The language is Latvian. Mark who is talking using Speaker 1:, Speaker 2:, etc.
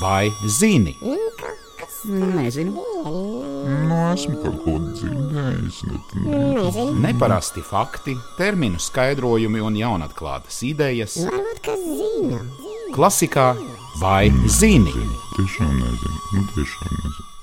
Speaker 1: Vai zini?
Speaker 2: Nezinu.
Speaker 3: Nu, esmu kaut ko dzirdējis. Bet, nu,
Speaker 4: Nezinu,
Speaker 1: Neparasti fakti, terminu skaidrojumi un jaunatklātas idejas
Speaker 4: varbūt kas zina.
Speaker 1: klasikā Vai zini?
Speaker 3: tiešām nezinu. Nu, tiešām nezinu.